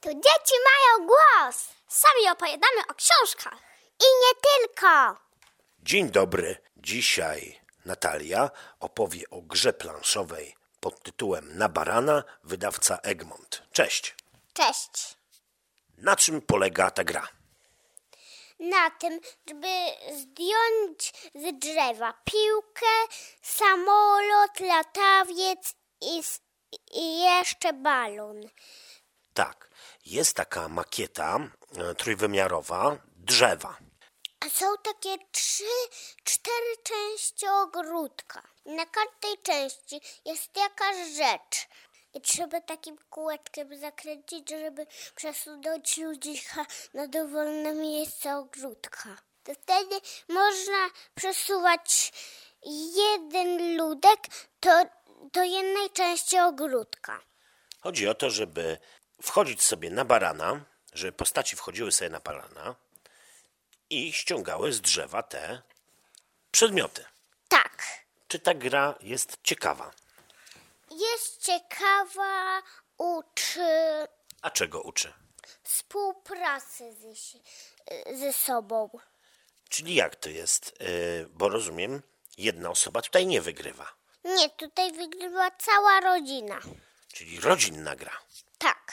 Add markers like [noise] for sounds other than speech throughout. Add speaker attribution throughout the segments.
Speaker 1: Tu dzieci mają głos. Sami opowiadamy o książkach. I nie tylko.
Speaker 2: Dzień dobry. Dzisiaj Natalia opowie o grze planszowej pod tytułem Na barana wydawca Egmont. Cześć.
Speaker 1: Cześć.
Speaker 2: Na czym polega ta gra?
Speaker 1: Na tym, żeby zdjąć z drzewa piłkę, samolot, latawiec i, s- i jeszcze balon.
Speaker 2: Tak, jest taka makieta e, trójwymiarowa drzewa.
Speaker 1: A są takie trzy, cztery części ogródka. Na każdej części jest jakaś rzecz. I trzeba takim kółeczkiem zakręcić, żeby przesunąć ludzika na dowolne miejsce ogródka. To wtedy można przesuwać jeden ludek do, do jednej części ogródka.
Speaker 2: Chodzi o to, żeby wchodzić sobie na barana, żeby postaci wchodziły sobie na barana i ściągały z drzewa te przedmioty.
Speaker 1: Tak.
Speaker 2: Czy ta gra jest ciekawa?
Speaker 1: Jest ciekawa, uczy
Speaker 2: A czego uczy?
Speaker 1: współpracy ze, si- ze sobą.
Speaker 2: Czyli jak to jest? Yy, Bo rozumiem, jedna osoba tutaj nie wygrywa.
Speaker 1: Nie, tutaj wygrywa cała rodzina.
Speaker 2: Czyli rodzinna gra.
Speaker 1: Tak.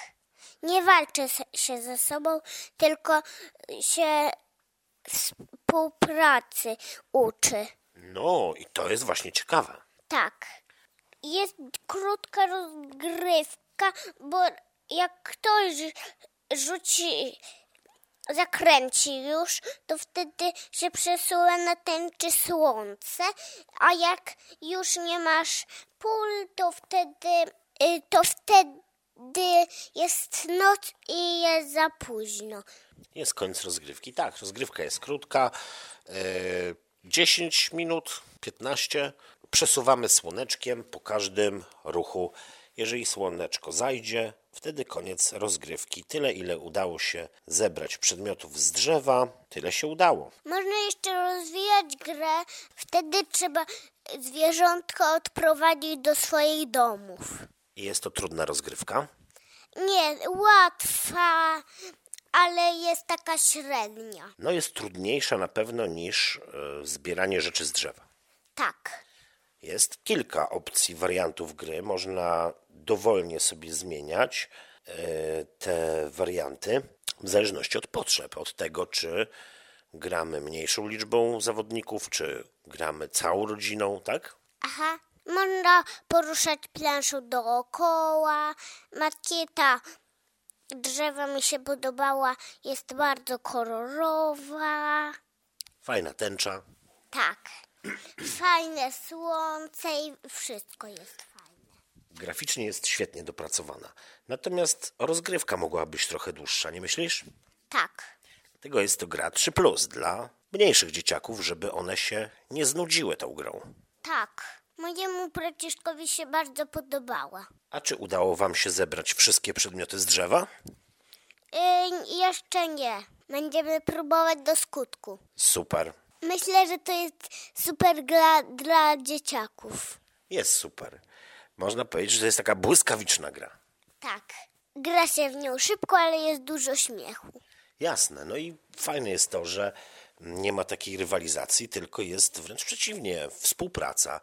Speaker 1: Nie walczy se- się ze sobą, tylko się współpracy uczy.
Speaker 2: No i to jest właśnie ciekawe.
Speaker 1: Tak. Jest krótka rozgrywka, bo jak ktoś rzu- rzuci, zakręci już, to wtedy się przesuwa na tęczy słońce, a jak już nie masz pól, to wtedy, y, to wtedy jest noc i jest za późno.
Speaker 2: Jest koniec rozgrywki. Tak, rozgrywka jest krótka. Yy, 10 minut, 15. Przesuwamy słoneczkiem po każdym ruchu. Jeżeli słoneczko zajdzie, wtedy koniec rozgrywki. Tyle, ile udało się zebrać przedmiotów z drzewa, tyle się udało.
Speaker 1: Można jeszcze rozwijać grę, wtedy trzeba zwierzątko odprowadzić do swoich domów.
Speaker 2: I jest to trudna rozgrywka.
Speaker 1: Nie, łatwa, ale jest taka średnia.
Speaker 2: No jest trudniejsza na pewno niż e, zbieranie rzeczy z drzewa.
Speaker 1: Tak.
Speaker 2: Jest kilka opcji, wariantów gry. Można dowolnie sobie zmieniać e, te warianty w zależności od potrzeb, od tego, czy gramy mniejszą liczbą zawodników, czy gramy całą rodziną, tak?
Speaker 1: Aha. Można poruszać planszą dookoła. Makieta drzewa mi się podobała. Jest bardzo kolorowa.
Speaker 2: Fajna tęcza.
Speaker 1: Tak. [clears throat] Fajne słońce i wszystko jest fajne.
Speaker 2: Graficznie jest świetnie dopracowana. Natomiast rozgrywka mogła być trochę dłuższa, nie myślisz?
Speaker 1: Tak.
Speaker 2: Tego jest to gra 3 plus dla mniejszych dzieciaków, żeby one się nie znudziły tą grą.
Speaker 1: Tak. Mojemu braciszkowi się bardzo podobała.
Speaker 2: A czy udało wam się zebrać wszystkie przedmioty z drzewa?
Speaker 1: Yy, jeszcze nie. Będziemy próbować do skutku.
Speaker 2: Super.
Speaker 1: Myślę, że to jest super gra dla dzieciaków.
Speaker 2: Jest super. Można powiedzieć, że to jest taka błyskawiczna gra.
Speaker 1: Tak. Gra się w nią szybko, ale jest dużo śmiechu.
Speaker 2: Jasne. No i fajne jest to, że nie ma takiej rywalizacji, tylko jest wręcz przeciwnie, współpraca,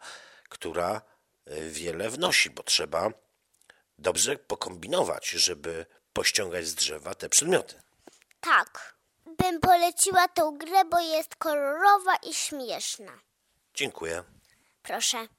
Speaker 2: która y, wiele wnosi, bo trzeba dobrze pokombinować, żeby pościągać z drzewa te przedmioty.
Speaker 1: Tak. Bym poleciła tą grę, bo jest kolorowa i śmieszna.
Speaker 2: Dziękuję.
Speaker 1: Proszę.